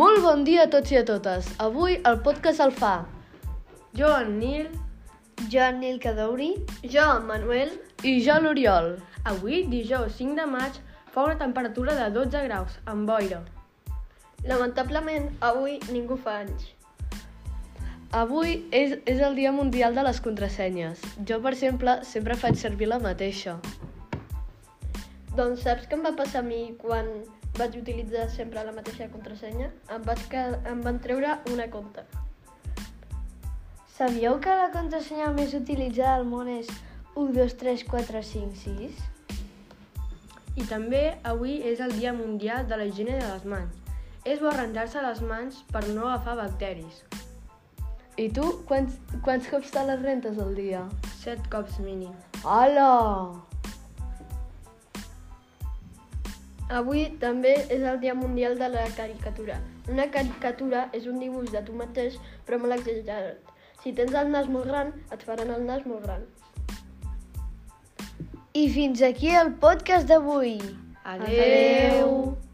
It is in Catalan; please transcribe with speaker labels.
Speaker 1: Molt bon dia a tots i a totes. Avui el podcast el fa jo, en Nil,
Speaker 2: Jo, Nil Cadouri.
Speaker 3: Jo, Manuel,
Speaker 1: i jo, l'Oriol.
Speaker 4: Avui, dijous 5 de maig, fa una temperatura de 12 graus, amb boira.
Speaker 3: lamentablement avui ningú fa anys.
Speaker 1: Avui és, és el Dia Mundial de les Contrasenyes. Jo, per exemple, sempre faig servir la mateixa.
Speaker 3: Doncs saps què em va passar a mi quan vaig utilitzar sempre la mateixa contrasenya? Em, vaig quedar, em van treure una compta.
Speaker 2: Sabíeu que la contrasenya més utilitzada al món és 1, 2, 3, 4, 5, 6?
Speaker 4: I també avui és el Dia Mundial de la Higiene de les Mans. És bo rentar-se les mans per no agafar bacteris.
Speaker 1: I tu, quants, quants cops te les rentes al dia?
Speaker 4: 7 cops mínim.
Speaker 1: Hola!
Speaker 3: Avui també és el Dia Mundial de la Caricatura. Una caricatura és un dibuix de tu mateix, però molt exagerat. Si tens el nas molt gran, et faran el nas molt gran.
Speaker 2: I fins aquí el podcast d'avui.
Speaker 4: Adeu! Adeu.
Speaker 3: Adeu.